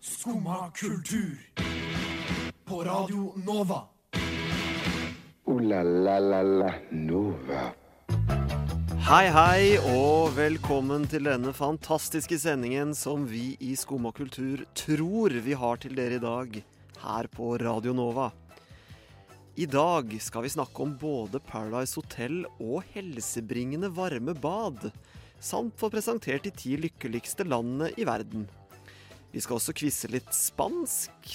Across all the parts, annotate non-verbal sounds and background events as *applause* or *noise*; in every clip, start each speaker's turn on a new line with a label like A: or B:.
A: Skumma kultur. På Radio Nova.
B: Ooh la la la la Nova.
C: Hei, hei, og velkommen til denne fantastiske sendingen som vi i Skum og kultur tror vi har til dere i dag, her på Radio Nova. I dag skal vi snakke om både Paradise Hotel og helsebringende varme bad, samt få presentert de ti lykkeligste landene i verden. Vi skal også quize litt spansk,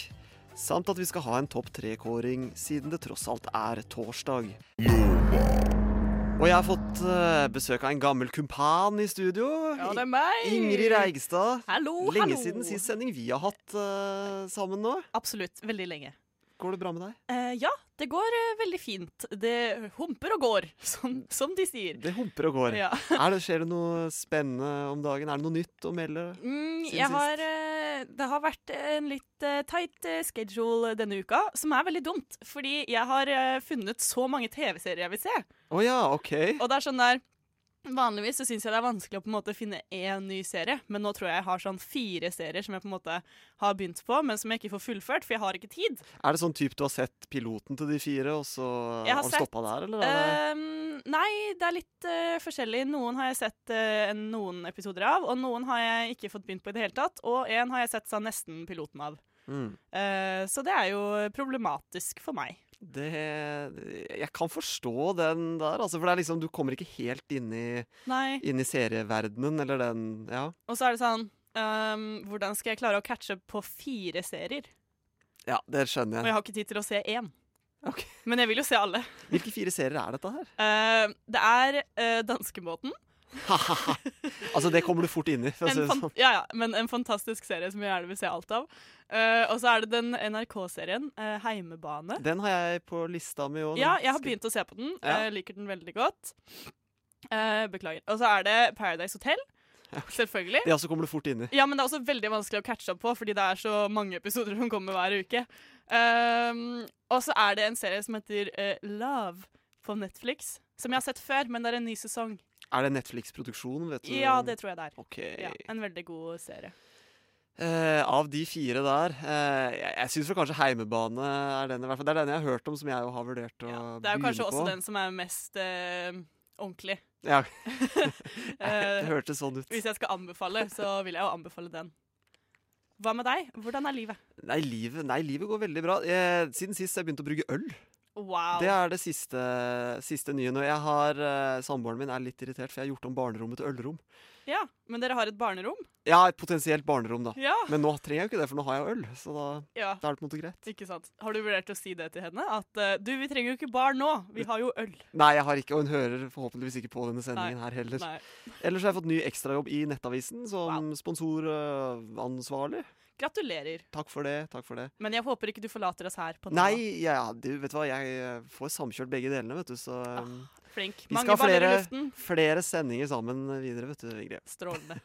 C: samt at vi skal ha en topp tre-kåring, siden det tross alt er torsdag. Og jeg har fått eh, besøk av en gammel kumpan i studio.
D: Ja, det er meg!
C: Ingrid Reigstad.
D: Hallo,
C: Lenge
D: hallo.
C: siden sist sending vi har hatt eh, sammen nå.
D: Absolutt. Veldig lenge.
C: Går det bra med deg?
D: Eh, ja, det går eh, veldig fint. Det humper og går, *laughs* som, som de sier.
C: Det humper og går.
D: Ja.
C: *laughs* Er det, skjer det noe spennende om dagen? Er det noe nytt å melde?
D: Mm,
C: Siden
D: jeg
C: sist.
D: har, eh, det har vært en litt eh, tight eh, schedule denne uka, som er veldig dumt. Fordi jeg har eh, funnet så mange TV-serier jeg vil se.
C: Å ja, OK.
D: Og det er sånn der Vanligvis så syns jeg det er vanskelig å på en måte finne én ny serie, men nå tror jeg jeg har sånn fire serier som jeg på en måte har begynt på, men som jeg ikke får fullført, for jeg har ikke tid.
C: Er det sånn type du har sett piloten til de fire, og så
D: Jeg har
C: har du
D: sett,
C: stoppa der, eller? er det-
D: Ehm, nei, det er litt eh, forskjellig. Noen har jeg sett eh, noen episoder av, og noen har jeg ikke fått begynt på i det hele tatt. Og en har jeg sett sånn nesten piloten av.
C: mm.
D: Eh, så det er jo problematisk for meg.
C: det Jeg kan forstå den der, altså. For det er liksom, du kommer ikke helt inn i,
D: Nei.
C: inn i serieverdenen, eller den Ja.
D: Og så er det sånn ehm, Hvordan skal jeg klare å catche up på fire serier?
C: ja det skjønner
D: Og
C: jeg.
D: jeg har ikke tid til å se én.
C: Ok.
D: Men jeg vil jo se alle.
C: Hvilke fire serier er dette her?
D: Eh, det er eh, danskebåten.
C: altså, det kommer du fort inn i. For å si
D: En
C: det
D: fan
C: sånn.
D: ja, ja, men en fantastisk serie som jeg gjerne vil se alt av. Eh, og så er det den NRK-serien, eh, Heimebane.
C: Den har jeg på lista mi òg.
D: Ja, jeg har begynt å se på den.
C: Ja.
D: Jeg liker den veldig godt. Eh, beklager. Og så er det
C: *laughs*
D: Paradise Hotel. Selvfølgelig.
C: Det også kommer du fort inn i.
D: Ja, men det er også veldig vanskelig å catche opp på, fordi det er så mange episoder som kommer hver uke. Ehm, og så er det en serie som heter eh, Love på Netflix, som jeg har sett før, men det er en ny sesong.
C: Er det Netflix-produksjon, vet du?
D: Ja, det tror jeg det er.
C: Mm. Ok.
D: Ja, en veldig god serie.
C: Eh, av de fire der, eh, jeg, jeg syns kanskje Heimebane er den i hvert fall. Det er den jeg har hørt om, som jeg jo har vurdert å
D: Ja, det er jo
C: begynne
D: kanskje også
C: på.
D: den som er mest eh,
C: *laughs*
D: ordentlig.
C: Ja,
D: Eh,
C: det hørtes sånn ut.
D: Hvis jeg skal anbefale, så vil jeg jo anbefale den. Hva med deg? Hvordan er livet?
C: Nei livet, nei, livet går veldig bra. Eh, siden sist har jeg begynt å brygge øl.
D: Wow.
C: Det er det siste, siste nye nå. Jeg har, eh, Samboeren min er litt irritert, for jeg har gjort om barnerommet til ølrom.
D: Ja, Men dere har et barnerom?
C: Ja, et potensielt barnerom, da.
D: Ja.
C: Men nå trenger jeg jo ikke det, for nå har jeg jo øl. Så da,
D: ja.
C: da er det på en måte greit.
D: Ikke sant. Har du vurdert å si det til henne? At eh, du, vi trenger jo ikke barn nå, vi har jo øl.
C: Nei, jeg har ikke, og hun hører forhåpentligvis ikke på denne sendingen her heller.
D: Nei.
C: Ellers har jeg fått ny ekstrajobb i Nettavisen som sponsoransvarlig.
D: Gratulerer.
C: Takk for det. takk for det.
D: Men jeg håper ikke du forlater oss her på nå.
C: Nei, ja, du vet du hva, jeg eh, får samkjørt begge delene, vet du, så um,
D: Flink.
C: Vi
D: Ah,
C: skal
D: Mange
C: ha
D: baller i
C: flere-
D: luften.
C: Flere sendinger sammen videre, vet du, Ingrid.
D: Strålende.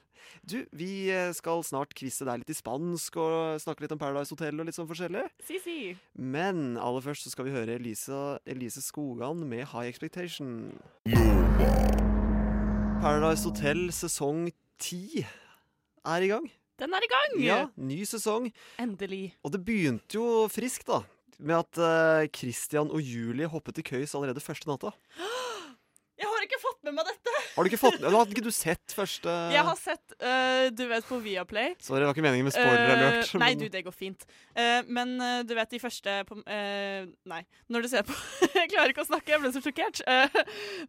C: Du, vi eh, skal snart quize deg litt i spansk og snakke litt om Paradise Hotel og litt sånn forskjellig.
D: *laughs* Si, si.
C: Men aller først så skal vi høre Elise, Elise Skogan med High Expectation. Paradise Hotel sesong ti er i gang.
D: Den er i gang!
C: Ja, ny sesong.
D: Endelig.
C: Og det begynte jo friskt, da. Med at eh, Christian og Julie hoppet i køys allerede første natta.
D: Jeg har ikke fått med meg dette!
C: Har du ikke fått Eller Hadde ikke du sett første
D: Jeg har sett eh, Du vet på Viaplay.
C: Sorry, det var ikke meningen med spoiler alert.
D: Eh, nei,
C: men-
D: du, det går fint. Eh, men eh, du vet de første på, eh, Nei, når du ser på *laughs* Jeg klarer ikke å snakke, jeg ble så sjokkert. Eh,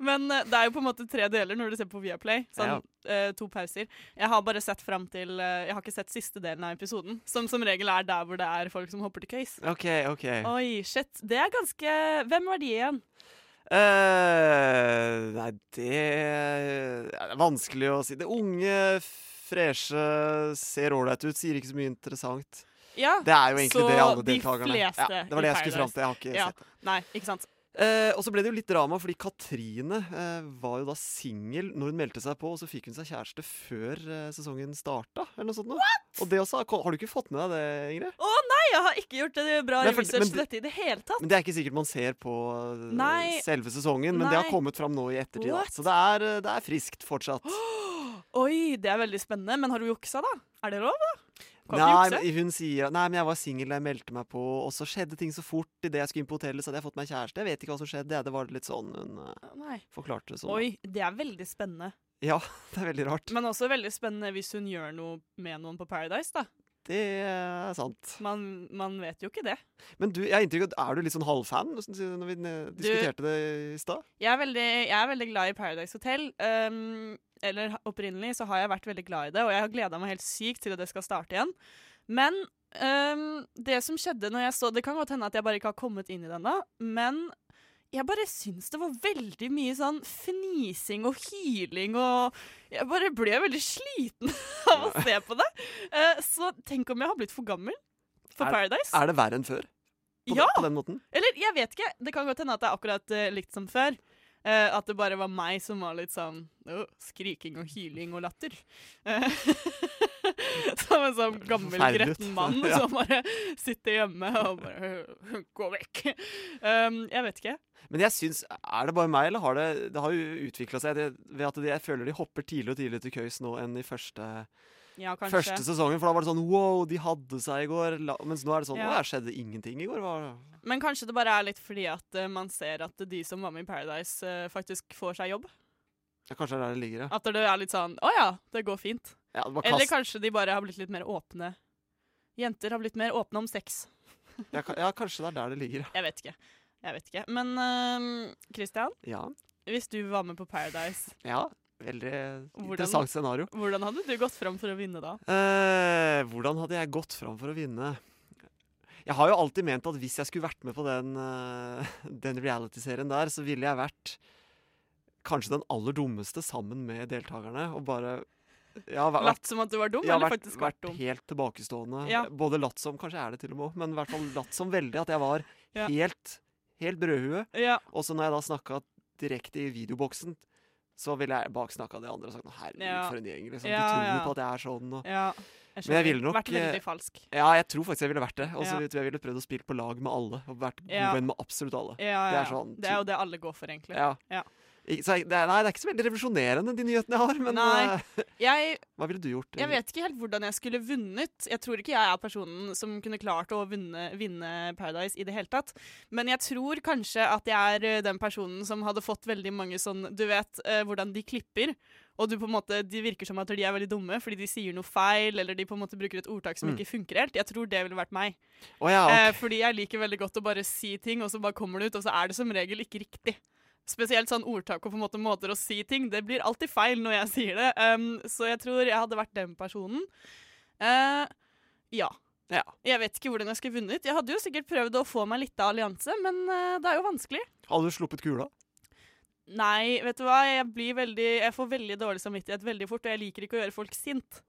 D: men eh, det er jo på en måte tre deler når du ser på Viaplay. Sånn eh, to pauser. Jeg har bare sett fram til eh, Jeg har ikke sett siste delen av episoden, som som regel er der hvor det er folk som hopper til køys.
C: OK, OK.
D: Oi, shit. Det er ganske Hvem var de igjen?
C: Eh, nei, det er vanskelig å si. Det unge, freshe, ser ålreit ut, sier ikke så mye interessant.
D: Ja.
C: Det er jo egentlig
D: Så
C: det alle
D: de
C: deltakerne
D: fleste
C: ja, Det var det
D: i
C: jeg skulle fram til. Jeg har ikke
D: Ja.
C: sett det.
D: Nei, ikke sant.
C: Eh, og så ble det jo litt drama, fordi Katrine eh, var jo da singel når hun meldte seg på, og så fikk hun seg kjæreste før eh, sesongen starta, eller noe sånt. nå. Og det også, har- har du ikke fått med deg det, Ingrid?
D: Å nei, jeg har ikke gjort det bra
C: Nei, for-
D: research
C: men
D: til dette i det hele tatt.
C: Men Det er ikke sikkert man ser på eh,
D: Nei.
C: selve sesongen, men det har
D: Nei.
C: kommet fram nå i ettertid. Da.
D: What?
C: Så det er, eh, det er friskt fortsatt.
D: Oi, det er veldig spennende. Men har du juksa, da? Er det lov? Kom i
C: Nei,
D: jukse?
C: men hun sier Nei, men jeg var singel da jeg meldte meg på, og så skjedde ting så fort. Idet jeg skulle inn på hotellet, så hadde jeg fått meg kjæreste. Jeg vet ikke hva som skjedde. Det var litt sånn hun eh,
D: Nei.
C: forklarte det sånn.
D: Oi, det er veldig spennende.
C: Ja, det er veldig rart.
D: Men også veldig spennende hvis hun gjør noe med noen på Paradise, da.
C: Det er sant.
D: Man, man vet jo ikke det.
C: Men du, jeg har inntrykk av at er du litt sånn halvfan når vi eh, diskuterte det i stad?
D: Jeg er veldig, jeg er veldig glad i Paradise Hotel. Um, eller ha- opprinnelig så har jeg vært veldig glad i det, og jeg har gleda meg helt sykt til at det skal starte igjen. Men um, det som skjedde når jeg så Det kan godt hende at jeg bare ikke har kommet inn i det ennå, men jeg bare syns det var veldig mye sånn fnising og hyling og Jeg bare ble veldig sliten *laughs* av å se på det. Eh, så tenk om jeg har blitt for gammel for
C: Er-
D: Paradise?
C: Er det verre enn før? På,
D: Ja!
C: den, på den måten?
D: Eller jeg vet ikke. Det kan godt hende at det er akkurat eh, likt som før. Eh, at det bare var meg som var litt sånn «Åh, skriking og hyling og latter. Eh, *laughs* som en sånn gammel
C: Forferdelig.
D: gretten mann
C: *laughs* Ja.
D: som bare sitter hjemme og bare «Åh, Gå vekk. Um, jeg vet ikke.
C: Men jeg syns Er det bare meg, eller har det Det har jo utvikla seg det, ved at det, jeg føler de hopper tidligere og tidligere til køys nå enn i første,
D: Ja, kanskje.
C: første sesongen. For da var det sånn Wow, de hadde seg i går. La, mens nå er det sånn
D: Ja.
C: Å, her skjedde ingenting i går. Hva-
D: Men kanskje det bare er litt fordi at eh, man ser at de som var med i Paradise, eh, faktisk får seg jobb.
C: Ja, kanskje det er der det ligger, ja.
D: At det er litt sånn Å ja, det går fint.
C: ja det var
D: Eller
C: kast,
D: kanskje de bare har blitt litt mer åpne. Jenter har blitt mer åpne om sex.
C: ja, ka- ja, kanskje det er der det ligger, ja.
D: Jeg vet ikke. Jeg vet ikke. Men øhm, Christian,
C: ja.
D: hvis du var med på Paradise,
C: Ja, veldig
D: Hvordan-
C: interessant scenario.
D: hvordan hadde du gått fram for å vinne da?
C: Eh, hvordan hadde jeg gått fram for å vinne? Jeg har jo alltid ment at hvis jeg skulle vært med på den, eh, *laughs* den reality-serien der, så ville jeg vært kanskje den aller dummeste sammen med deltakerne. Og bare ja, væ- vært,
D: Latt som at du var dum,
C: ja,
D: eller
C: vært,
D: faktisk vært
C: vært
D: dum?
C: helt tilbakestående.
D: Ja.
C: Både latt som, kanskje jeg er det til og med, men i hvert fall latt som veldig at jeg var
D: Ja.
C: helt, helt brødhue.
D: Ja.
C: Og så når jeg da snakka direkte i videoboksen, så ville jeg baksnakka de andre og sagt 'herregud,
D: Ja.
C: for en gjeng'. Liksom.
D: Ja,
C: du tror
D: ja.
C: på at jeg er sånn. Og...
D: ja. Jeg
C: Men jeg
D: skjønner.
C: ville nok,
D: Vært veldig
C: eh,
D: falsk.
C: Ja, jeg tror faktisk jeg ville vært det. Og så
D: Ja.
C: tror jeg jeg ville prøvd å spille på lag med alle. Og vært god
D: Ja.
C: venn med absolutt alle.
D: Ja, ja,
C: det er
D: ja.
C: sånn
D: det er jo det alle går for, egentlig.
C: Ja.
D: Ja.
C: I- Så jeg, det er, nei, det er ikke så veldig revolusjonerende, de nyhetene jeg har. Men
D: Nei.
C: eh,
D: Jeg,
C: hva ville du gjort?
D: jeg vet ikke helt hvordan jeg skulle vunnet. Jeg tror ikke jeg er personen som kunne klart å vinne, vinne Paradise i det hele tatt. Men jeg tror kanskje at jeg er eh, den personen som hadde fått veldig mange sånn Du vet eh, hvordan de klipper, og du på en måte, de virker som at de er veldig dumme fordi de sier noe feil, eller de på en måte bruker et ordtak som
C: Mm.
D: ikke funker helt. Jeg tror det ville vært meg.
C: Å ja, ok.
D: Eh, fordi jeg liker veldig godt å bare si ting, og så bare kommer det ut, og så er det som regel ikke riktig. Spesielt sånn ordtak og på en måte måter å si ting. Det blir alltid feil når jeg *laughs* sier det. Um, så jeg tror jeg hadde vært den personen. Eh, ja.
C: Ja.
D: Jeg vet ikke hvordan jeg skulle vunnet. Jeg hadde jo sikkert prøvd å få meg litt av allianse, men eh, det er jo vanskelig.
C: Hadde du sluppet kula?
D: Nei, vet du hva? Jeg, blir veldig, jeg får veldig dårlig samvittighet veldig fort, og jeg liker ikke å gjøre folk sint.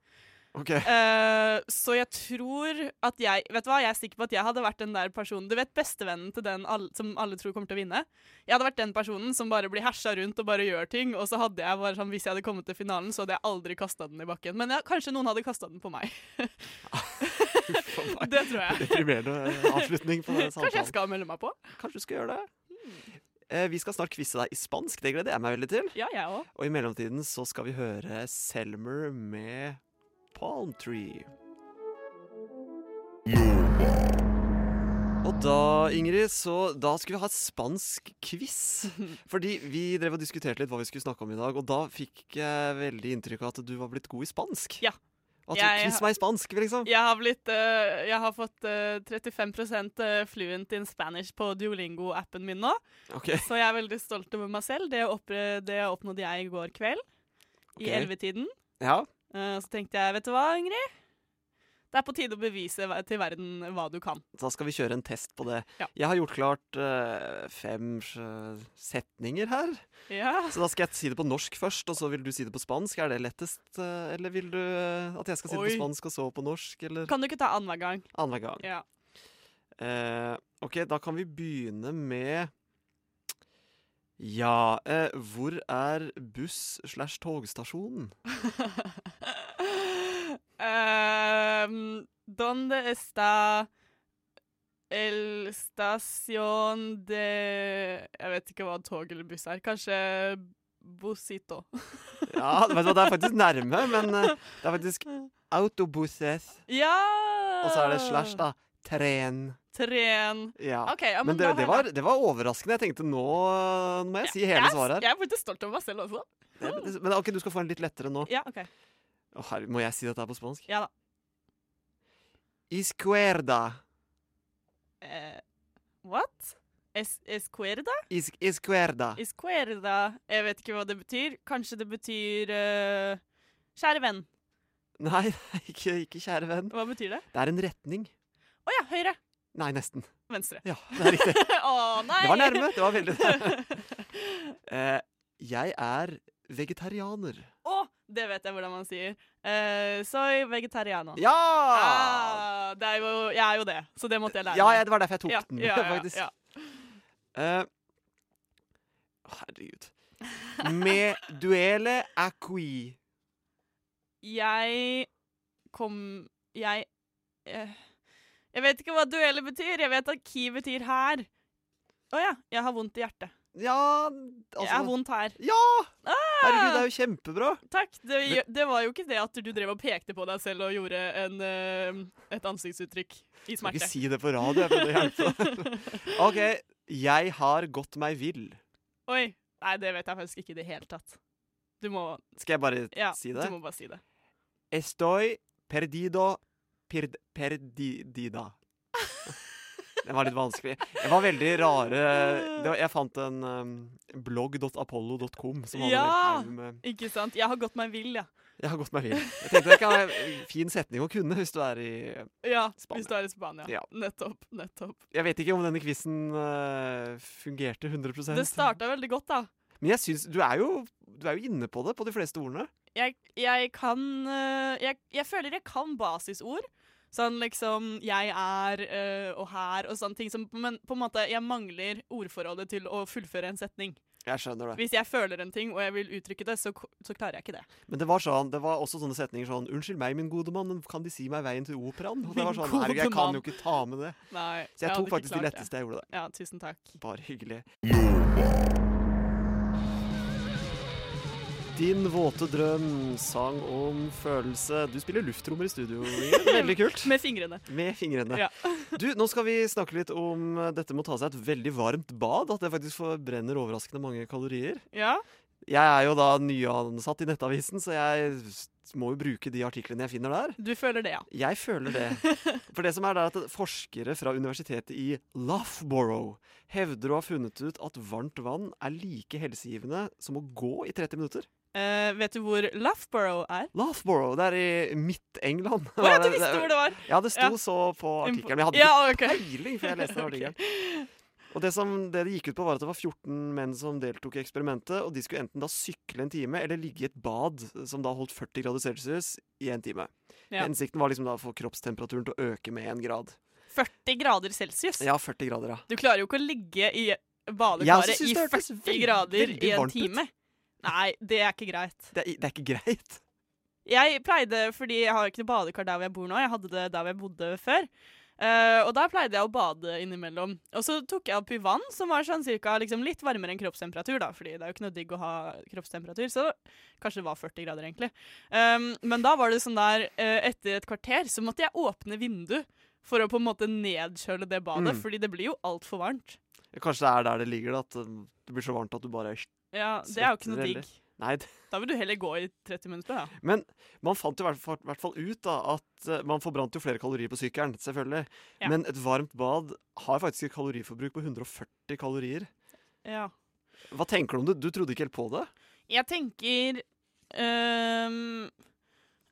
C: Ok.
D: *laughs* Eh, så jeg tror at jeg Vet du hva, jeg er sikker på at jeg hadde vært den der personen Du vet bestevennen til den all, som alle tror kommer til å vinne? Jeg hadde vært den personen som bare blir hersa rundt og bare gjør ting, og så hadde jeg bare sånn Hvis jeg hadde kommet til finalen, så hadde jeg aldri kasta den i bakken. Men jeg, kanskje noen hadde kasta den på *laughs* meg.
C: For meg.
D: Det tror *laughs* jeg.
C: Deprimerende eh, avslutning på den
D: Kanskje jeg
C: samtalen.
D: skal Hmm. melde meg på?
C: Kanskje du skal gjøre det? Eh, Vi skal snart quize deg i spansk, det gleder jeg meg veldig til.
D: Ja, jeg òg.
C: Og i mellomtiden så skal vi høre Selmer med Palm Tree. Og da, Ingrid, så da skulle vi ha et spansk
D: *laughs*
C: quiz. Fordi vi drev og diskuterte litt hva vi skulle snakke om i dag, og da fikk jeg veldig inntrykk av at du var blitt god i spansk.
D: Ja.
C: Og at du
D: Jeg-
C: quiz meg i spansk, liksom.
D: Jeg har, blitt, eh, jeg har fått eh, 35 eh, fluent in Spanish på Duolingo-appen min nå.
C: Ok,
D: Så jeg er veldig stolt over meg selv. Det, oppre- det oppnådde jeg i går kveld.
C: Ok.
D: I ellevetiden.
C: ja.
D: Eh, Så tenkte jeg, vet du hva, Ingrid? Det er på tide å bevise ver- til verden hva du kan.
C: Da skal vi kjøre en test på det.
D: Ja.
C: Jeg har gjort klart eh, fem eh, setninger her.
D: Ja.
C: Så da skal jeg si det på norsk først, og så vil du si det på spansk. Er det lettest? eh, Eller vil du eh, at jeg skal si det
D: Oi.
C: på spansk og så på norsk? Eller
D: Kan du ikke ta annenhver gang?
C: annenhver gang.
D: Ja.
C: Eh, ok, da kan vi begynne med Ja, eh, hvor er buss slash togstasjonen?
D: Ehm, donde está el stasjon de Jeg vet ikke hva tog eller buss er. Kanskje Busito.
C: Ja, vet du hva, det er faktisk nærme, men eh, det er faktisk autobuses.
D: Ja!
C: Og så er det slash, da. Tren.
D: Tren.
C: Ja.
D: OK, ja, men,
C: Men det,
D: da har
C: det,
D: jeg
C: var, det var overraskende. Jeg tenkte nå, eh, nå må jeg si hele
D: jeg,
C: svaret her.
D: jeg er faktisk stolt over meg selv også.
C: Det- Men ok, du skal få en litt lettere nå.
D: Ja, OK.
C: Å, herre, må jeg si dette her på spansk?
D: Ja da.
C: Iscuerda.
D: Eh, what? Es esquerda?
C: Is, iscuerda.
D: Esquerda. Jeg vet ikke hva det betyr. Kanskje det betyr eh, Kjære venn.
C: Nei, nei, ikke, ikke kjære venn.
D: Hva betyr det?
C: Det er en retning.
D: Å ja, høyre.
C: Nei, nesten.
D: Venstre. *laughs*
C: Ja, det er riktig.
D: Å nei!
C: Det var nærme. Det var veldig
D: *laughs*
C: Eh, Jeg er vegetarianer.
D: Å, det vet jeg hvordan man sier. Eh, soy vegetariano.
C: Ja!
D: Ah, det er jo, jeg er jo det, så det måtte jeg lære.
C: Ja,
D: meg.
C: ja, det var derfor jeg tok
D: Ja,
C: den, *laughs*
D: ja, ja,
C: faktisk.
D: ja.
C: Eh, å, herregud. Me duele acqui.
D: Jeg kom Jeg eh, Jeg vet ikke hva duelle betyr. Jeg vet at ki betyr her. Å ja. Jeg har vondt i hjertet.
C: Ja
D: Jeg Ah! har
C: altså,
D: vondt her.
C: Ja! Herregud, det er jo kjempebra.
D: Takk. Det, gjø- det var jo ikke det at du drev og pekte på deg selv og gjorde en, eh, et ansiktsuttrykk i
C: Du må ikke
D: smerte.
C: si det på radio. Jeg prøvde å hjelpe
D: *laughs*
C: deg. OK. Jeg har gått meg vill.
D: Oi. Nei, det vet jeg faktisk ikke i det hele tatt. Du må
C: Skal jeg bare
D: Ja,
C: si det?
D: du må bare si det.
C: Estoy perdido perd, perdida.
D: *laughs*
C: Det var litt vanskelig. Det var veldig rare
D: Ah.
C: det var, Jeg fant en um, blogg.apollo.com som hadde
D: Ja!
C: en haug med
D: Ikke sant? Jeg har gått meg vill, ja.
C: Jeg har gått meg vill. Jeg tenkte det kan være en fin setning å kunne hvis du er i
D: Ja,
C: Spania.
D: Hvis du er i Spania.
C: Ja.
D: Nettopp. nettopp.
C: Jeg vet ikke om denne quizen eh, fungerte 100
D: Det starta veldig godt, da.
C: Men jeg syns du, er jo- du er jo inne på det, på de fleste ordene.
D: Jeg, jeg kan øh, jeg, jeg føler jeg kan basisord. Sånn liksom 'jeg er' øh, og 'her' og sånne ting. Som, men på en måte, jeg mangler ordforrådet til å fullføre en setning.
C: Jeg skjønner det.
D: Hvis jeg føler en ting og jeg vil uttrykke det, så, ko- så klarer jeg ikke det.
C: Men det var sånn, det var også sånne setninger sånn 'Unnskyld meg, min gode mann, men kan De si meg veien til operaen?' Og det var
D: Min
C: sånn,
D: gode
C: herregud, jeg kan
D: mann.
C: jo ikke ta med det.
D: Nei,
C: Så jeg
D: hadde
C: tok
D: ikke
C: faktisk de
D: klart det.
C: letteste jeg gjorde det.
D: Ja, tusen takk.
C: Bare hyggelig. Din våte drøm sang om følelse. Du spiller luftrommer i studio. Inge. Veldig
D: *laughs*
C: kult.
D: Med fingrene.
C: Med fingrene.
D: Ja.
C: Du, Nå skal vi snakke litt om eh, dette med å ta seg et veldig varmt bad. At det faktisk forbrenner overraskende mange kalorier.
D: Ja.
C: Jeg er jo da nyansatt i Nettavisen, så jeg s- må jo bruke de artiklene jeg finner der.
D: Du føler det, ja.
C: Jeg føler
D: *laughs*
C: det. For det som er det er at Forskere fra universitetet i Loughborough hevder å ha funnet ut at varmt vann er like helsegivende som å gå i 30 minutter.
D: Eh, vet du hvor Loughborough er?
C: Loughborough, det er i Midt-England. *laughs*
D: Å ja, du visste hvor det var!
C: Ja, det sto
D: Ja.
C: så på artikkelen. Jeg hadde
D: Ja,
C: ikke
D: ok.
C: peiling før jeg leste den *laughs* artikkelen. Og det, som, det det gikk ut på, var at det var 14 menn som deltok i eksperimentet, og de skulle enten da sykle en time eller ligge i et bad som da holdt 40 grader celsius i en time.
D: Ja.
C: Hensikten var liksom da å få kroppstemperaturen til å øke med én grad.
D: 40 grader celsius.
C: Ja, 40 grader, ja.
D: Du klarer jo ikke å ligge i
C: Jeg
D: badekaret
C: synes
D: i
C: det hørtes
D: 40
C: veldig,
D: grader
C: veldig
D: i en
C: varmt ut.
D: time. Nei, det er ikke greit.
C: Det er, det er ikke *laughs* greit.
D: Jeg pleide, fordi jeg har jo ikke noe badekar der hvor jeg bor nå, jeg hadde det der hvor jeg bodde før. Eh, og da pleide jeg å bade innimellom. Og så tok jeg opp i vann, som var sånn cirka liksom, litt varmere enn kroppstemperatur, da, fordi det er jo ikke noe digg å ha kroppstemperatur, så kanskje det var 40 grader, egentlig. Um, men da var det sånn der, eh, etter et kvarter så måtte jeg åpne vinduet for å på en måte nedkjøle det badet,
C: Mm.
D: fordi det blir jo altfor varmt.
C: Kanskje det er der det ligger, da, at um, det blir så varmt at du bare
D: Ja, det er jo ikke
C: Svetter
D: noe
C: eller?
D: digg.
C: Nei, det-
D: Da vil du heller gå i 30 minutter, da.
C: men man fant jo i hvert fall- hvert fall ut da at eh, man forbrant jo flere kalorier på sykkelen, selvfølgelig.
D: Ja.
C: Men et varmt bad har faktisk et kaloriforbruk på 140 kalorier.
D: Ja.
C: Hva tenker du om det? Du trodde ikke helt på det?
D: Jeg tenker øhm,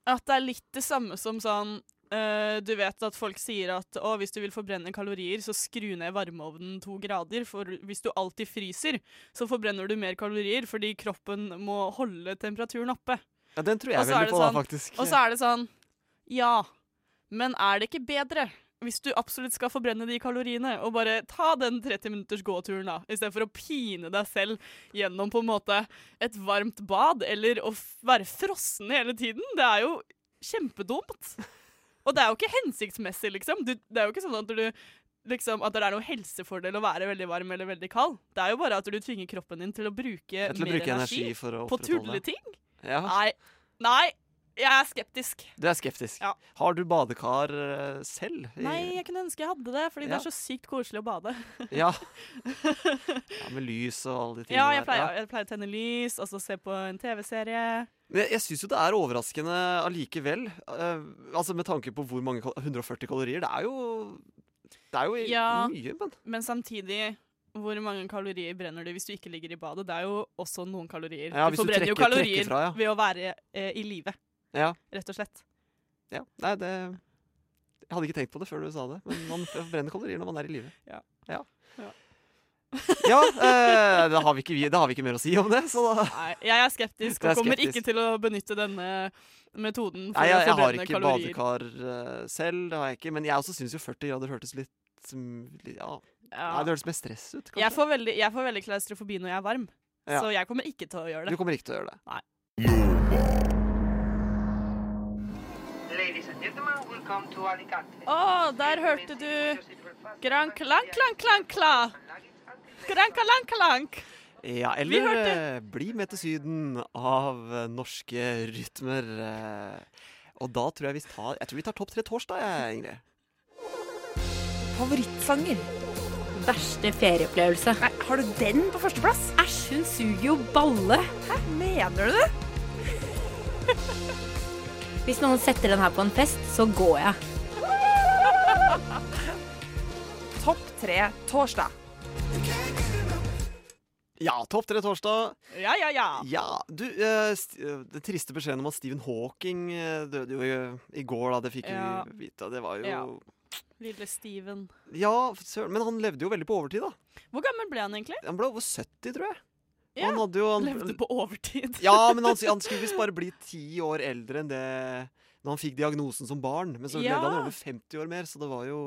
D: at det er litt det samme som sånn øh, Du vet at folk sier at å, hvis du vil forbrenne kalorier, så skru ned varmeovnen to grader. For hvis du alltid fryser, så forbrenner du mer kalorier fordi kroppen må holde temperaturen oppe.
C: Ja, Den tror
D: Og
C: jeg
D: så er
C: veldig
D: det
C: på, da,
D: sånn-
C: faktisk.
D: Og så er det sånn Ja, men er det ikke bedre? Hvis du absolutt skal forbrenne de kaloriene, og bare ta den 30 minutters gåturen, da, istedenfor å pine deg selv gjennom på en måte et varmt bad, eller å f- være frossen hele tiden, det er jo kjempedumt. Og det er jo ikke hensiktsmessig, liksom. Du, det er jo ikke sånn at du liksom, at det er noe helsefordel å være veldig varm eller veldig kald. Det er jo bare at du tvinger kroppen din til å bruke
C: Til å
D: mer
C: bruke energi
D: energi
C: for å
D: på
C: opprettholde
D: tulleting.
C: Ja,
D: Nei. Nei, jeg er skeptisk.
C: Du er skeptisk.
D: Ja.
C: Har du badekar eh, selv? i-
D: Nei, jeg kunne ønske jeg hadde det, fordi
C: Ja.
D: det er så sykt koselig å bade. *laughs*
C: Ja. ja, med lys og alle de tingene
D: Ja, jeg
C: der.
D: pleier, jeg pleier å tenne lys, og så se på en TV-serie.
C: Men jeg, jeg syns jo det er overraskende allikevel. eh, altså Med tanke på hvor mange kal 140 kalorier. Det er jo Det er jo i-
D: Ja.
C: mye, men
D: Men samtidig, hvor mange kalorier brenner du hvis du ikke ligger i badet? Det er jo også noen kalorier.
C: Ja, hvis du
D: forbrenner jo
C: trekker- trekker
D: kalorier
C: fra, ja.
D: ved å være eh, i live,
C: ja,
D: rett og slett.
C: ja. Nei, det Jeg hadde ikke tenkt på det før du sa det, men man brenner kalorier når man er i live.
D: Ja.
C: Ja,
D: Ja.
C: Ja, eh, da, har vi ikke, vi- da har vi ikke mer å si om det, så da
D: Nei, jeg er skeptisk
C: Du Ah. er
D: og kommer
C: skeptisk.
D: ikke til å benytte denne metoden for
C: Nei, jeg,
D: å
C: jeg har
D: forbrenne
C: ikke
D: kalorier.
C: badekar eh, selv, det har jeg ikke. Men jeg også syns jo 40 grader hørtes litt som- litt- ja. Nei, det
D: Ja.
C: hørtes mer stress ut,
D: Jeg,
C: kanskje.
D: får veldig, jeg får veldig klaustrofobi når jeg er varm,
C: Ja.
D: så jeg kommer ikke til å gjøre
C: Du
D: det.
C: kommer ikke til å gjøre det.
E: Ladies and gentlemen, welcome to Alicante.
D: Å, der hørte du Gran klang, klang, klang, klang. Gran klang, klang.
C: Ja,
D: Vi
C: eller eh, Bli med til Syden av eh, norske rytmer. eh. Og da tror jeg vi tar Jeg tror vi tar topp tre torsdag, jeg, Ingrid.
F: Favorittsanger. Verste ferieopplevelse. Nei, har du den på førsteplass? Æsj, hun suger jo balle. Hæ, mener du det? Hvis noen setter den her på en fest, så går jeg.
G: Topp tre torsdag.
C: Ja, topp tre torsdag.
D: Ja, ja, ja.
C: Ja, du eh, st eh, Den triste beskjeden om at Stephen Hawking eh, døde jo i, i går, da. Det fikk
D: Ja.
C: vi vite. og Det var jo Ja,
D: Ja. Lille Steven.
C: søren. Men han levde jo veldig på overtid, da.
D: Hvor gammel ble han egentlig?
C: Han ble over 70, tror jeg. Og
D: Ja,
C: han hadde jo han,
D: Levde på overtid.
C: Ja, men han, han skulle visst bare bli ti år eldre enn det Når han fikk diagnosen som barn. Men så
D: Ja.
C: levde han over 50 år mer, så det var jo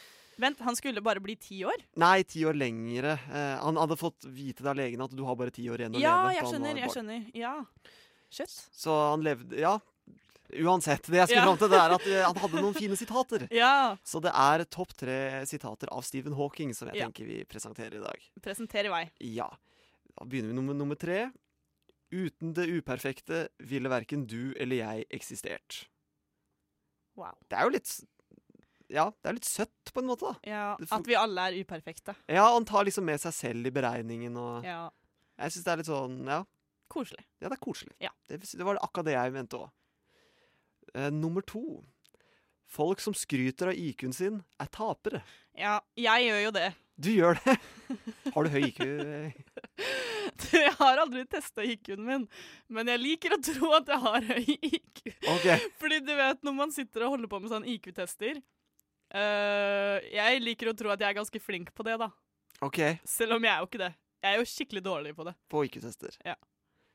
D: *laughs* Vent, han skulle bare bli ti år?
C: Nei, ti år lengre. Eh, han hadde fått vite av legene at du har bare ti år igjen å
D: Ja,
C: leve.
D: jeg
C: da han var
D: skjønner. jeg
C: barn.
D: skjønner. Ja. Shit.
C: Så han levde Ja. Uansett. Det jeg skulle
D: Ja.
C: fram til, det er at eh, han
D: *laughs*
C: hadde noen fine sitater.
D: Ja.
C: Så det er topp tre sitater av Stephen Hawking som jeg
D: Ja.
C: tenker vi presenterer i dag.
D: Presenter i vei.
C: Ja. Da begynner vi med nummer, nummer tre. Uten det uperfekte ville verken du eller jeg eksistert.
D: Wow.
C: Det er jo litt s- Ja, det er litt søtt, på en måte. da.
D: Ja,
C: Det får-
D: At vi alle er uperfekte.
C: Ja, han tar liksom med seg selv i beregningen og
D: Ja.
C: Jeg syns det er litt sånn Ja.
D: Koselig.
C: Ja, det er koselig.
D: Ja.
C: Det, det var akkurat det jeg mente òg. Eh, nummer to. Folk som skryter av IQ-en sin, er tapere.
D: Ja, jeg gjør jo det. *laughs*
C: Du gjør det! Har du høy IQ?
D: Du, Jeg har aldri testa IQ-en min, men jeg liker å tro at jeg har høy IQ.
C: OK.
D: Fordi du vet, når man sitter og holder på med sånn IQ-tester øh, Jeg liker å tro at jeg er ganske flink på det, da.
C: ok,
D: Selv om jeg er jo ikke det. Jeg er jo skikkelig dårlig på det.
C: På IQ-tester.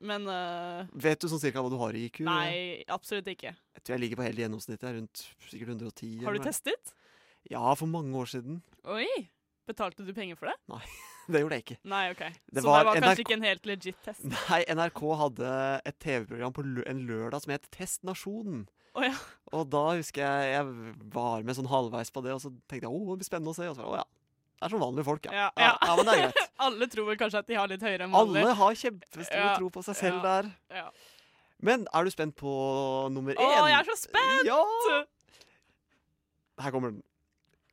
D: Men øh,
C: Vet du sånn cirka hva du har i IQ?
D: nei, absolutt ikke.
C: Jeg tror jeg ligger på hele gjennomsnittet. jeg er Rundt sikkert 110.
D: Har
C: eller
D: du
C: noe.
D: testet?
C: Ja, for mange år siden. *laughs*
D: Oi! Betalte du penger for det?
C: Det gjorde jeg ikke.
D: Nei, OK.
C: Det
D: Så
C: var
D: det var
C: NRK
D: kanskje ikke en helt legit test.
C: Nei, NRK hadde et TV-program på lø en lørdag som het Test Nasjonen.
D: Å ja.
C: Og da husker jeg jeg var med sånn halvveis på det, og så tenkte jeg å, det blir spennende å se. Og så var det, å ja, det er som vanlige folk, ja.
D: Ja,
C: ja.
D: ja.
C: ja men det er greit.
D: Alle tror vel kanskje at de har litt høyere enn *laughs* vanlig.
C: Alle har kjempestor
D: Ja,
C: tro på seg selv
D: ja,
C: der.
D: ja.
C: Men er du spent på nummer
D: Å,
C: én?
D: jeg er så spent!
C: Ja! Her kommer den.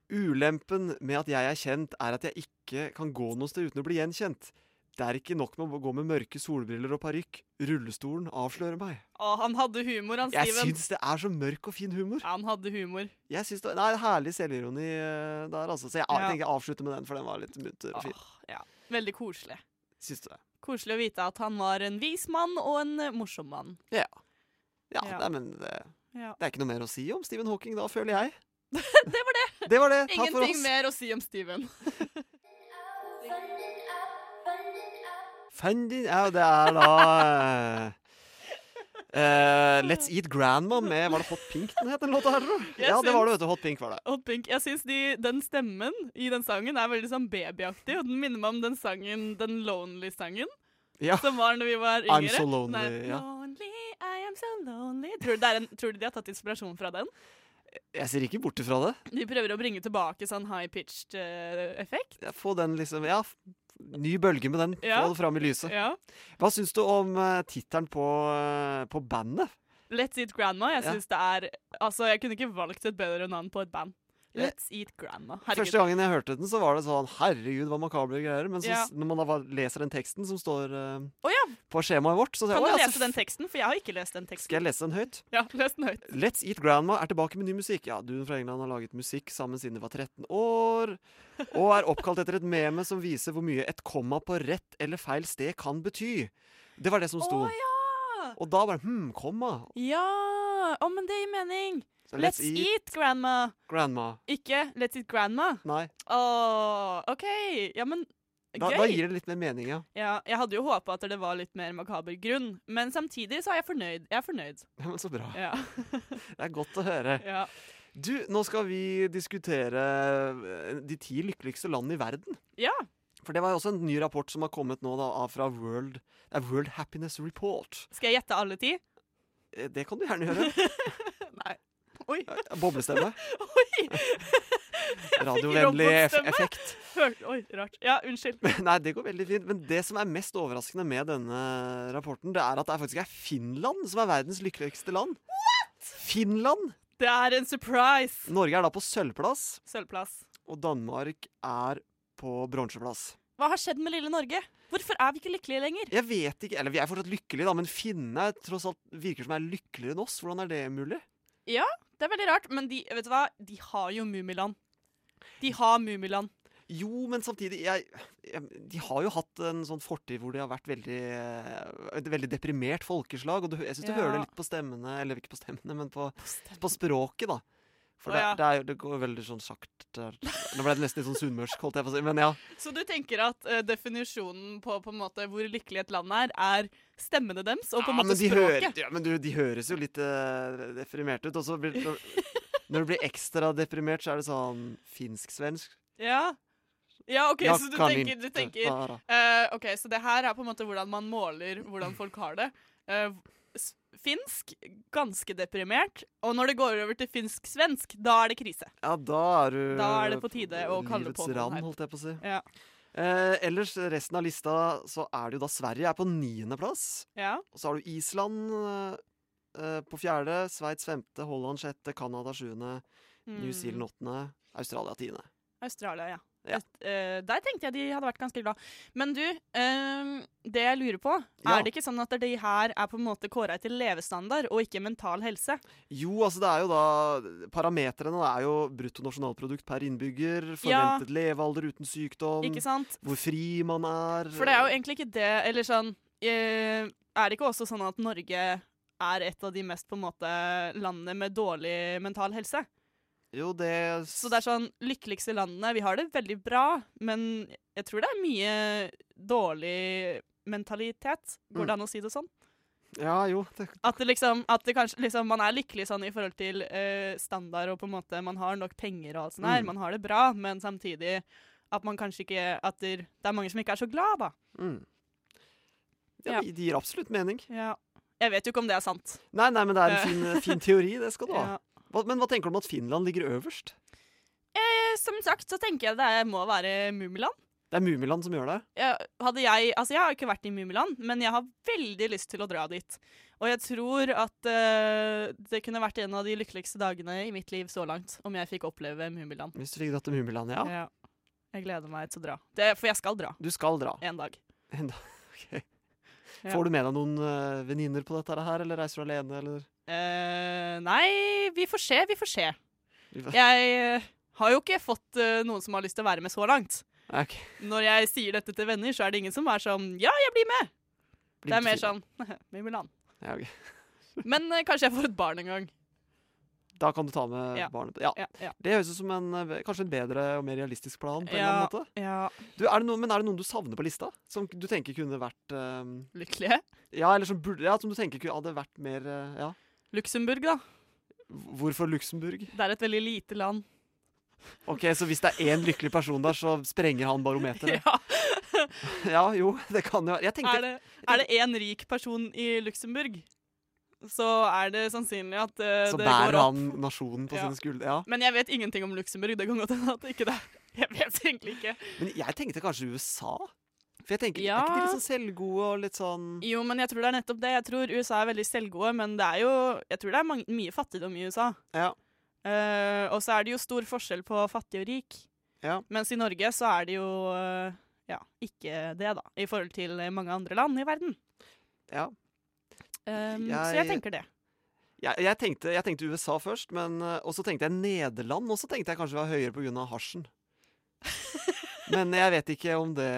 C: Ulempen med at jeg er kjent, er at jeg ikke kan gå noe sted uten å bli gjenkjent. Det er ikke nok med å gå med mørke solbriller og parykk. Rullestolen avslører meg.
D: Å, han hadde humor, han
C: Jeg
D: Steven.
C: syns det er så mørk og fin humor.
D: Han hadde humor.
C: Jeg synes det, nei, Herlig selvironi eh, der, altså. Så jeg
D: Ja. Ah.
C: tenker jeg avslutter med den, for den var litt munter og fin.
D: Åh, ja. Veldig koselig.
C: Syns du det?
D: Koselig å vite at han var en vis mann og en eh, morsom mann.
C: Ja,
D: Ja.
C: Nei, men det,
D: Ja.
C: det er ikke noe mer å si om Stephen Hawking da, føler
D: *laughs*
C: jeg. det var det. Det var det. Takk for
D: Ingenting
C: oss.
D: mer å si om Steven.
C: Funny ja, Det er da eh, eh, Let's Eat Grandma med Var det Hot Pink den het, den låta her, tror du?
D: Jeg
C: Ja, det var
D: syns-
C: det, vet du. Hot Pink var det.
D: Og Pink, jeg synes de, Den stemmen i den sangen er veldig sånn babyaktig, og den minner meg om den sangen, den Lonely-sangen.
C: Ja.
D: Som var når vi var yngre.
C: I'm so lonely,
D: Nei,
C: ja.
D: lonely, I am so lonely. Tror du, det er en, tror du de har tatt inspirasjon fra den?
C: Jeg ser ikke bort ifra det.
D: De prøver å bringe tilbake sånn high-pitched eh, effekt.
C: Ja, Få den liksom Ja, f- ny bølge med den.
D: Ja.
C: Få det fram i lyset.
D: Ja.
C: Hva syns du om uh, tittelen på, eh, på bandet?
D: Let's Eat Grandma. Jeg
C: Ja.
D: synes det er Altså, jeg kunne ikke valgt et bedre navn på et band.
C: Eh,
D: Let's Eat Grandma. Herregud.
C: Første gangen jeg hørte den, så var det sånn Herregud, hva makabre greier. Men så,
D: Ja.
C: s- når man da var- leser den teksten som står eh,
D: Å ja.
C: på skjemaet vårt, så sier
D: Kan
C: jeg,
D: du
C: «Å ja,
D: lese
C: så
D: den teksten? For jeg har ikke lest den teksten.
C: skal jeg lese den høyt.
D: Ja, les den høyt.
C: Let's Eat Grandma er tilbake med ny musikk. Ja, Duen fra England har laget musikk sammen siden de var 13 år, og er oppkalt etter et meme som viser hvor mye et komma på rett eller feil sted kan bety. Det var det som sto.
D: ja!
C: Og da bare Hm, komma.
D: Ja! Å, men det gir mening.
C: Så
D: Let's Eat Grandma.
C: Grandma.
D: Ikke Let's Eat Grandma.
C: Nei.
D: Å, OK. Ja, men gøy.
C: Da, da gir det litt mer mening, ja. *laughs*
D: Ja, jeg hadde jo håpa at det var litt mer makaber grunn, men samtidig så er jeg fornøyd. Jeg er fornøyd.
C: ja. Men så bra.
D: Ja. *laughs*
C: Det er godt å høre.
D: ja.
C: Du, nå skal vi diskutere eh, de ti lykkeligste landene i verden.
D: ja.
C: For det var jo også en ny rapport som har kommet nå da, av- fra World, det er World Happiness Report.
D: Skal jeg gjette alle ti?
C: Eh, Det kan du gjerne gjøre.
D: *laughs* Nei. Oi.
C: Boblestemme.
D: *laughs*
C: *laughs*
D: Oi!
C: Radiovennlig eff-
D: robotstemme.
C: effekt. *laughs*
D: Hør, oi, rart. Ja, unnskyld.
C: Nei, det går veldig fint. Men det som er mest overraskende med denne rapporten, det er at det faktisk er Finland som er verdens lykkeligste land. What? Finland!
D: Det er en surprise!
C: Norge er da på sølvplass,
D: Sølvplass.
C: og Danmark er på bronseplass.
D: Hva har skjedd med lille Norge? Hvorfor er vi ikke lykkelige lenger?
C: Jeg vet ikke, eller Vi er fortsatt lykkelige, da, men finnene er tross alt virker som er lykkeligere enn oss. Hvordan er det mulig?
D: Det er veldig rart, men de, vet du hva? De har jo Mummiland. De har Mummiland.
C: Jo, men samtidig jeg, jeg, De har jo hatt en sånn fortid hvor de har vært veldig eh, et veldig deprimert folkeslag. Og du, jeg syns du
D: Ja.
C: hører det litt på stemmene, eller ikke på stemmene, men på, på språket, da. For
D: Å,
C: det,
D: ja.
C: det, er, jo- det går veldig sånn sakte der. Nå ble det nesten litt sånn sunnmørsk, holdt jeg på å si. Men ja.
D: Så du tenker at eh, definisjonen på, på en måte hvor lykkelig et land er, er stemmene deres og på
C: ja,
D: en måte
C: men de
D: språket?
C: hører- ja, men du, de høres jo litt eh, deprimerte ut. Og så blir når, når du blir ekstra deprimert, så er det sånn finsk-svensk.
D: Ja. ja, OK,
C: Ja,
D: så du
C: kan
D: tenker, du
C: inte
D: tenker
C: vara.
D: Eh, ok, så det her er på en måte hvordan man måler hvordan folk har det. Eh, s- finsk, ganske deprimert. Og når det går over til finsk-svensk, da er det krise.
C: Ja, da er du
D: Da er det på tide å kalle på noen
C: Livets rand,
D: her.
C: holdt jeg på å si.
D: Ja.
C: Eh, ellers, resten av lista, så er det jo da Sverige er på niendeplass.
D: Ja.
C: Og så har du Island eh, på fjerde, Sveits femte, Holland sjette, Canada sjuende,
D: Mm.
C: New Zealand åttende, Australia tiende.
D: Australia, ja.
C: Ja.
D: Aust- eh, der tenkte jeg de hadde vært ganske glad. Men du, eh, det jeg lurer på,
C: Ja.
D: er det ikke sånn at de her er på en måte kåra etter levestandard og ikke mental helse?
C: Jo, altså det er jo da Parametrene er jo bruttonasjonalprodukt per innbygger,
D: Ja.
C: forventet levealder uten sykdom,
D: Ikke sant?
C: hvor fri man er
D: For det er jo egentlig ikke det Eller sånn eh, Er det ikke også sånn at Norge er et av de mest på en måte landene med dårlig mental helse?
C: Jo, det
D: Så det er sånn Lykkeligste landene Vi har det veldig bra, men jeg tror det er mye dårlig mentalitet. Går
C: Mm.
D: det an å si det sånn?
C: Ja, jo. Det,
D: At det liksom At det kanskje liksom Man er lykkelig sånn i forhold til eh, standard og på en måte Man har nok penger og alt sånt her.
C: Mm.
D: Man har det bra, men samtidig at man kanskje ikke At det, det er mange som ikke er så glad, da.
C: mm.
D: Ja.
C: ja. Det gir absolutt mening.
D: Ja. Jeg vet jo ikke om det er sant.
C: Nei, nei, men det er en
D: *laughs*
C: fin, fin teori, det skal du ha.
D: Ja.
C: Hva, men hva tenker du om at Finland ligger øverst?
D: Eh, Som sagt så tenker jeg det er- må være Mummiland.
C: Det er Mummiland som gjør det.
D: Jeg, hadde jeg, altså jeg har ikke vært i Mummiland, men jeg har veldig lyst til å dra dit. Og jeg tror at eh, det kunne vært en av de lykkeligste dagene i mitt liv så langt, om jeg fikk oppleve Mummiland.
C: Hvis du fikk dratt til Mummiland, ja.
D: Ja. Jeg gleder meg til å dra. Det, for jeg skal dra
C: Du skal dra.
D: en dag.
C: En dag. Ok.
D: Ja.
C: Får du med deg noen uh, venninner på dette her, eller reiser du alene, eller?
D: Eh, nei, vi får se, vi får se.
C: Vi får-
D: Jeg eh, har jo ikke fått eh, noen som har lyst til å være med så langt.
C: Nei, ok.
D: Når jeg sier dette til venner, så er det ingen som er sånn Ja, jeg blir med!
C: Blir
D: Det er
C: du
D: mer
C: tvil?
D: sånn *laughs* Mummiland.
C: Ja, ok.
D: Men eh, kanskje jeg får et barn en gang.
C: Da kan du ta med
D: Ja.
C: barnet. Ja.
D: Ja, ja.
C: Det høres ut som en, eh, kanskje en bedre og mer realistisk plan. på en eller
D: Ja.
C: annen måte. Du, er det noen, men er det noen du savner på lista? Som du tenker kunne vært eh,
D: Lykkelige.
C: Ja, eller som, burde, ja, som du tenker kunne hadde vært mer eh, Ja.
D: Luxembourg, da.
C: Hvorfor Luxembourg?
D: Det er et veldig lite land.
C: Ok, Så hvis det er én lykkelig person der, så sprenger han
D: *laughs*
C: barometeret?
D: Ja.
C: Ja, jo, det kan jo være. Jeg tenkte
D: Er det én rik person i Luxembourg? så er det sannsynlig at eh,
C: Så
D: det går
C: bærer
D: opp.
C: han nasjonen på
D: Ja.
C: sine skuldre. Ja.
D: Men jeg vet ingenting om Luxembourg. Det kan godt hende at ikke det Jeg vet egentlig ikke.
C: Men jeg tenkte kanskje USA? For jeg tenker,
D: Ja.
C: Er ikke de litt sånn selvgode og litt sånn
D: Jo, men jeg tror det er nettopp det. Jeg tror USA er veldig selvgode, men det er jo Jeg tror det er mang- mye fattigdom i USA.
C: Ja.
D: Eh, og så er det jo stor forskjell på fattig og rik.
C: Ja.
D: Mens i Norge så er det jo eh, ja, ikke det, da. I forhold til mange andre land i verden.
C: Ja.
D: Um,
C: Jeg-
D: Så jeg tenker det.
C: Jeg, jeg, tenkte, jeg tenkte USA først, men, eh, og så tenkte jeg Nederland. Og så tenkte jeg kanskje det var høyere pga. hasjen. Men jeg vet ikke om det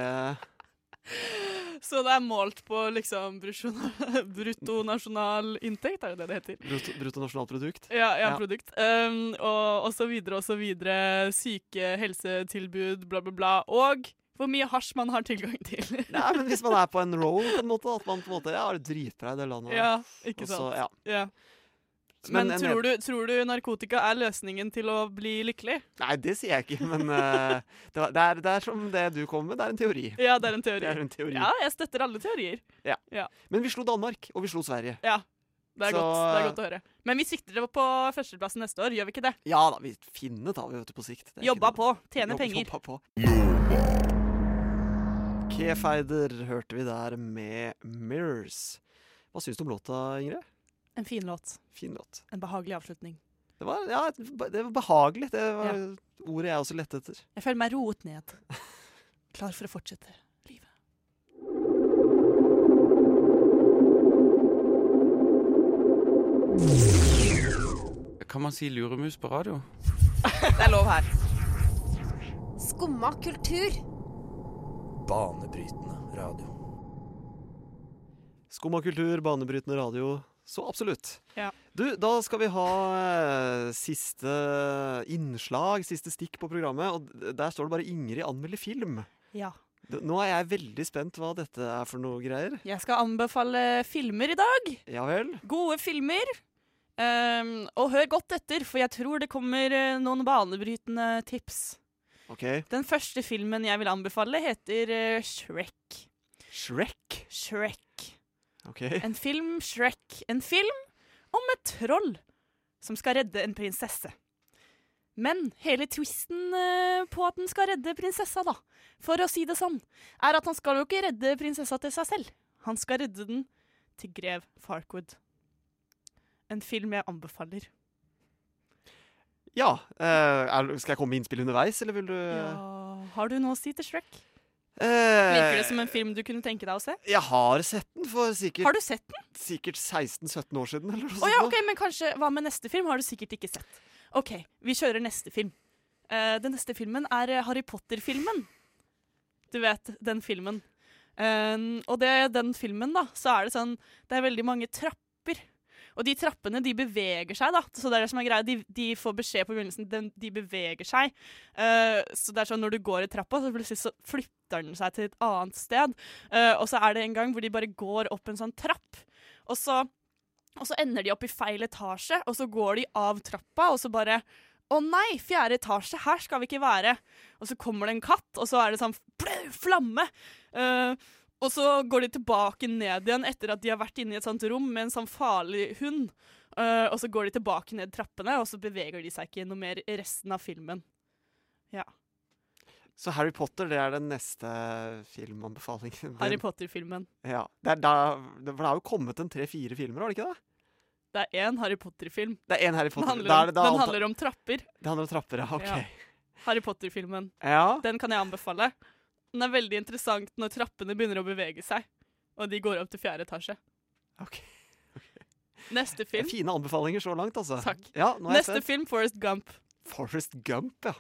D: Så det er målt på liksom brutto- *laughs* bruttonasjonalinntekt, er det det det heter?
C: brutto- bruttonasjonalprodukt.
D: Ja, ja,
C: Ja.
D: produkt. Um, og, og så videre og så videre. Syke, helsetilbud, bla, bla, bla. Og hvor mye hasj man har tilgang til. *laughs*
C: Nei, men hvis man er på en roll, på en måte, at man på en måte Ja, det er dritbra i det landet. her.
D: ja, ikke
C: Og
D: sant.
C: så, ja.
D: ja.
C: Men
D: Men,
C: en-
D: tror, du, tror du narkotika er løsningen til å bli lykkelig?
C: Nei, det sier jeg ikke, men eh, det, var- det, er, det er som det du kommer med, det er en teori.
D: Ja, det er en
C: Det
D: teori.
C: er en teori.
D: Ja, jeg støtter alle teorier.
C: Men vi slo Danmark, og vi slo Sverige.
D: Ja, det er,
C: Så-
D: godt, det er godt å høre. Men vi sikter det på førsteplassen neste år, gjør vi ikke det?
C: Ja da, vi finne tar vi vet du, på sikt. Det er ikke
D: Jobba
C: noe-
D: på,
C: Jobb-
D: tjene penger.
C: Jobba på. Kefeider hørte vi der med Mirrors. Hva syns du om låta, Ingrid?
D: En fin låt.
C: Fin låt.
D: En behagelig avslutning.
C: Det var, ja, et- det var behagelig. Det var ordet jeg også lette etter.
D: Jeg føler meg roet
C: *laughs*
D: ned. Klar for å fortsette livet.
H: Kan man si luremus på radio?
G: Det er lov her.
F: Skumma kultur.
A: Banebrytende radio.
C: Skum av kultur, banebrytende radio. Så absolutt.
D: Ja.
C: Du, da skal vi ha eh, siste innslag, siste stikk på programmet. Og d- der står det bare 'Ingrid anmelder film'.
D: Ja.
C: D- Nå er jeg veldig spent hva dette er for noe greier.
D: Jeg skal anbefale filmer i dag.
C: Ja vel?
D: Gode filmer. Ehm, og hør godt etter, for jeg tror det kommer eh, noen banebrytende tips.
C: OK.
D: Den første filmen jeg vil anbefale, heter eh, Shrek.
C: Shrek.
D: Shrek.
C: OK.
D: En film Shrek. En film om et troll som skal redde en prinsesse. Men hele twisten eh, på at den skal redde prinsessa, da, for å si det sånn, er at han skal jo ikke redde prinsessa til seg selv. Han skal redde den til grev Farquid. En film jeg anbefaler.
C: Ja. eh, er, skal jeg komme med innspill underveis, eller vil du
D: Har du noe å si til Shrek?
C: Eh,
D: Virker det som en film du kunne tenke deg å se?
C: Jeg har sett den for sikkert,
D: Har du sett den?
C: sikkert 16-17 år siden. Eller noe
D: Å ja,
C: sånt
D: ok, men kanskje Hva med neste film? Har du sikkert ikke sett. OK, vi kjører neste film. Eh, den neste filmen er eh, Harry Potter-filmen. Du vet, den filmen. Eh, og det, den filmen, da, så er det sånn Det er veldig mange trapper. Og de trappene de beveger seg, da. Så det er det som er greia. De, de får beskjed på begynnelsen. De, de beveger seg. Eh, så det er sånn når du går i trappa, så plutselig så flytter den seg til et annet sted. Eh, og så er det en gang hvor de bare går opp en sånn trapp. Og så og så ender de opp i feil etasje, og så går de av trappa, og så bare Å nei, fjerde etasje, her skal vi ikke være. Og så kommer det en katt, og så er det sånn plau, flamme. Eh, og så går de tilbake ned igjen etter at de har vært inne i et sånt rom med en sånn farlig hund. Eh, og så går de tilbake ned trappene, og så beveger de seg ikke noe mer i resten av filmen.
C: nå. Så Harry Potter det er den neste filmanbefalingen.
D: Harry
C: Den-
D: Potter-filmen.
C: Ja. Det er, da- det, for det har jo kommet en tre-fire filmer, har det ikke det?
D: Det er én Harry Potter-film.
C: Det er én Harry
D: Den
C: Potter.
D: handler,
C: Da
D: om,
C: er det, da,
D: den
C: anta-
D: handler om trapper.
C: det handler om trapper, ja.
D: Ja.
C: OK.
D: Harry Potter-filmen.
C: Ja.
D: Den kan jeg anbefale. Den er veldig interessant når trappene begynner å bevege seg, og de går opp til fjerde etasje.
C: ok.
D: Neste
C: Det er
D: film,
C: Fine anbefalinger så langt, altså.
D: Takk.
C: Ja, nå er jeg
D: Neste
C: spent.
D: film Forest Gump.
C: Forrest Gump, ja.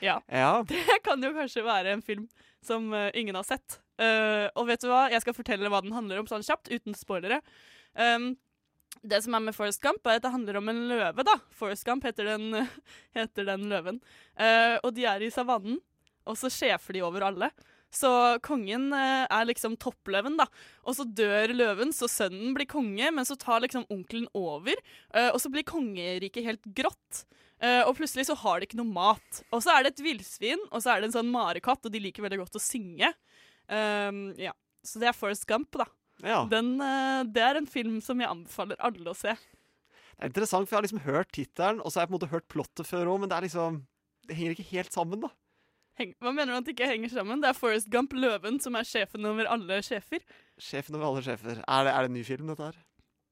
D: Ja.
C: ja.
D: Det *laughs* kan jo kanskje være en film som eh, ingen har sett. Eh, og vet du hva? Jeg skal fortelle hva den handler om sånn kjapt, uten spoilere. Um, det som er med Forest Gump, er at det handler om en løve, da. Forest Gump heter den, *laughs* heter den løven. Eh, og de er i savannen, og så sjefer de over alle. Så kongen eh, er liksom toppløven, da. Og så dør løven, så sønnen blir konge, men så tar liksom onkelen over. eh, og så blir kongeriket helt grått. Eh, og plutselig så har de ikke noe mat. Og så er det et villsvin, og så er Ehm, det en sånn marekatt, og de liker veldig godt å synge. Um, ja. Så det er Forest Gump, da.
C: Ja. Det
D: Den, eh, det er en film som jeg anbefaler alle å se.
C: er interessant, for jeg har liksom hørt tittelen, og så har jeg på en måte hørt plottet før òg, men det er liksom Det henger ikke helt sammen, da.
D: Heng, hva mener du at det ikke henger sammen? Det er Forrest Gump, løven, som er sjefen over alle sjefer.
C: Sjefen over alle sjefer. Er det, er det en ny film, dette her?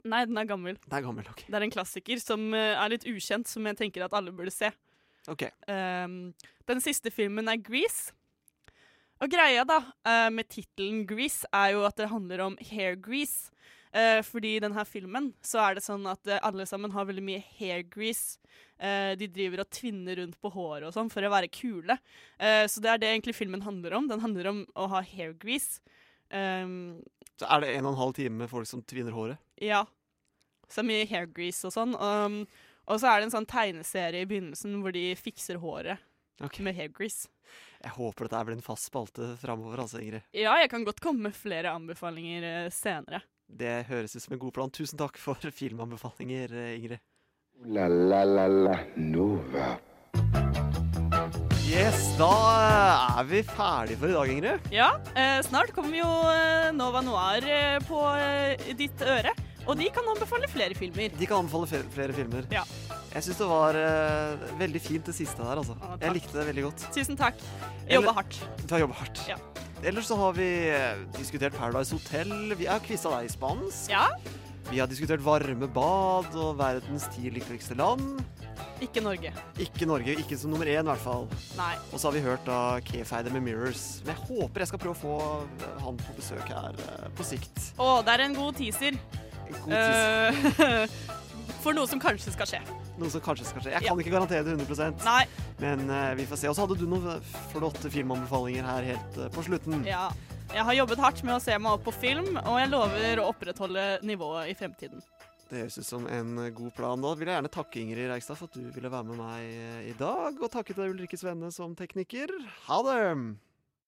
D: Nei, den er gammel.
C: Det er gammel, OK.
D: Det er en klassiker som eh, er litt ukjent, som jeg tenker at alle burde se.
C: Ok.
D: Ehm, den siste filmen er Grease. Og greia da, eh, med tittelen Grease, er jo at det handler om hair grease. Eh, fordi i denne filmen så er det sånn at eh, alle sammen har veldig mye hair grease. Eh, de driver og tvinner rundt på håret og sånn for å være kule. Eh, så det er det egentlig filmen handler om. Den handler om å ha hair grease. Ehm,
C: Så er det en og en halv time med folk som tvinner håret?
D: ja. Så mye hair grease og sånn. Um, og så er det en sånn tegneserie i begynnelsen hvor de fikser håret
C: Ok.
D: med hair grease.
C: Jeg håper dette her blir en fast spalte framover, altså, Ingrid.
D: Ja, jeg kan godt komme med flere anbefalinger eh, senere.
C: Det høres ut som en god plan. Tusen takk for filmanbefalinger, eh, Ingrid.
B: Ooh la la la la Nova.
C: Yes, da er vi ferdige for i dag, Ingrid.
D: Ja, eh, snart kommer jo eh, Nova Noir eh, på eh, ditt øre, og de kan anbefale flere filmer.
C: De kan anbefale flere, flere filmer.
D: Ja.
C: Jeg syns det var eh, veldig fint det siste der, altså.
D: Å, takk.
C: Jeg likte det veldig godt.
D: Tusen takk. Jeg
C: Eller-
D: jobba hardt.
C: Du har jobba hardt.
D: Ja.
C: Ellers så har vi eh, diskutert Paradise Hotel. Vi har quiza deg i spansk.
D: Ja,
C: Vi har diskutert varme bad og verdens ti lykkeligste land.
D: ikke Norge.
C: Ikke Norge, ikke som nummer én i hvert fall.
D: Nei.
C: Og så har vi hørt da Kefeide med Mirrors. Men jeg håper jeg skal prøve å få eh, han på besøk her eh, på sikt.
D: Å, det er en god teaser.
C: En god tids.
D: Eh, *laughs* for noe som kanskje skal skje.
C: Noe som kanskje skal skje. Jeg
D: ja.
C: kan ikke garantere det 100
D: Nei.
C: men eh, vi får se. Og så hadde du noen flotte filmanbefalinger her helt eh, på slutten.
D: Ja. Jeg har jobbet hardt med å se meg opp på film, og jeg lover å opprettholde nivået i fremtiden.
C: Det høres ut som en eh, god plan. Da vil jeg gjerne takke Ingrid Reigstad for at du ville være med meg eh, i dag, og takke til Ulrikkes Venne som tekniker. Ha det!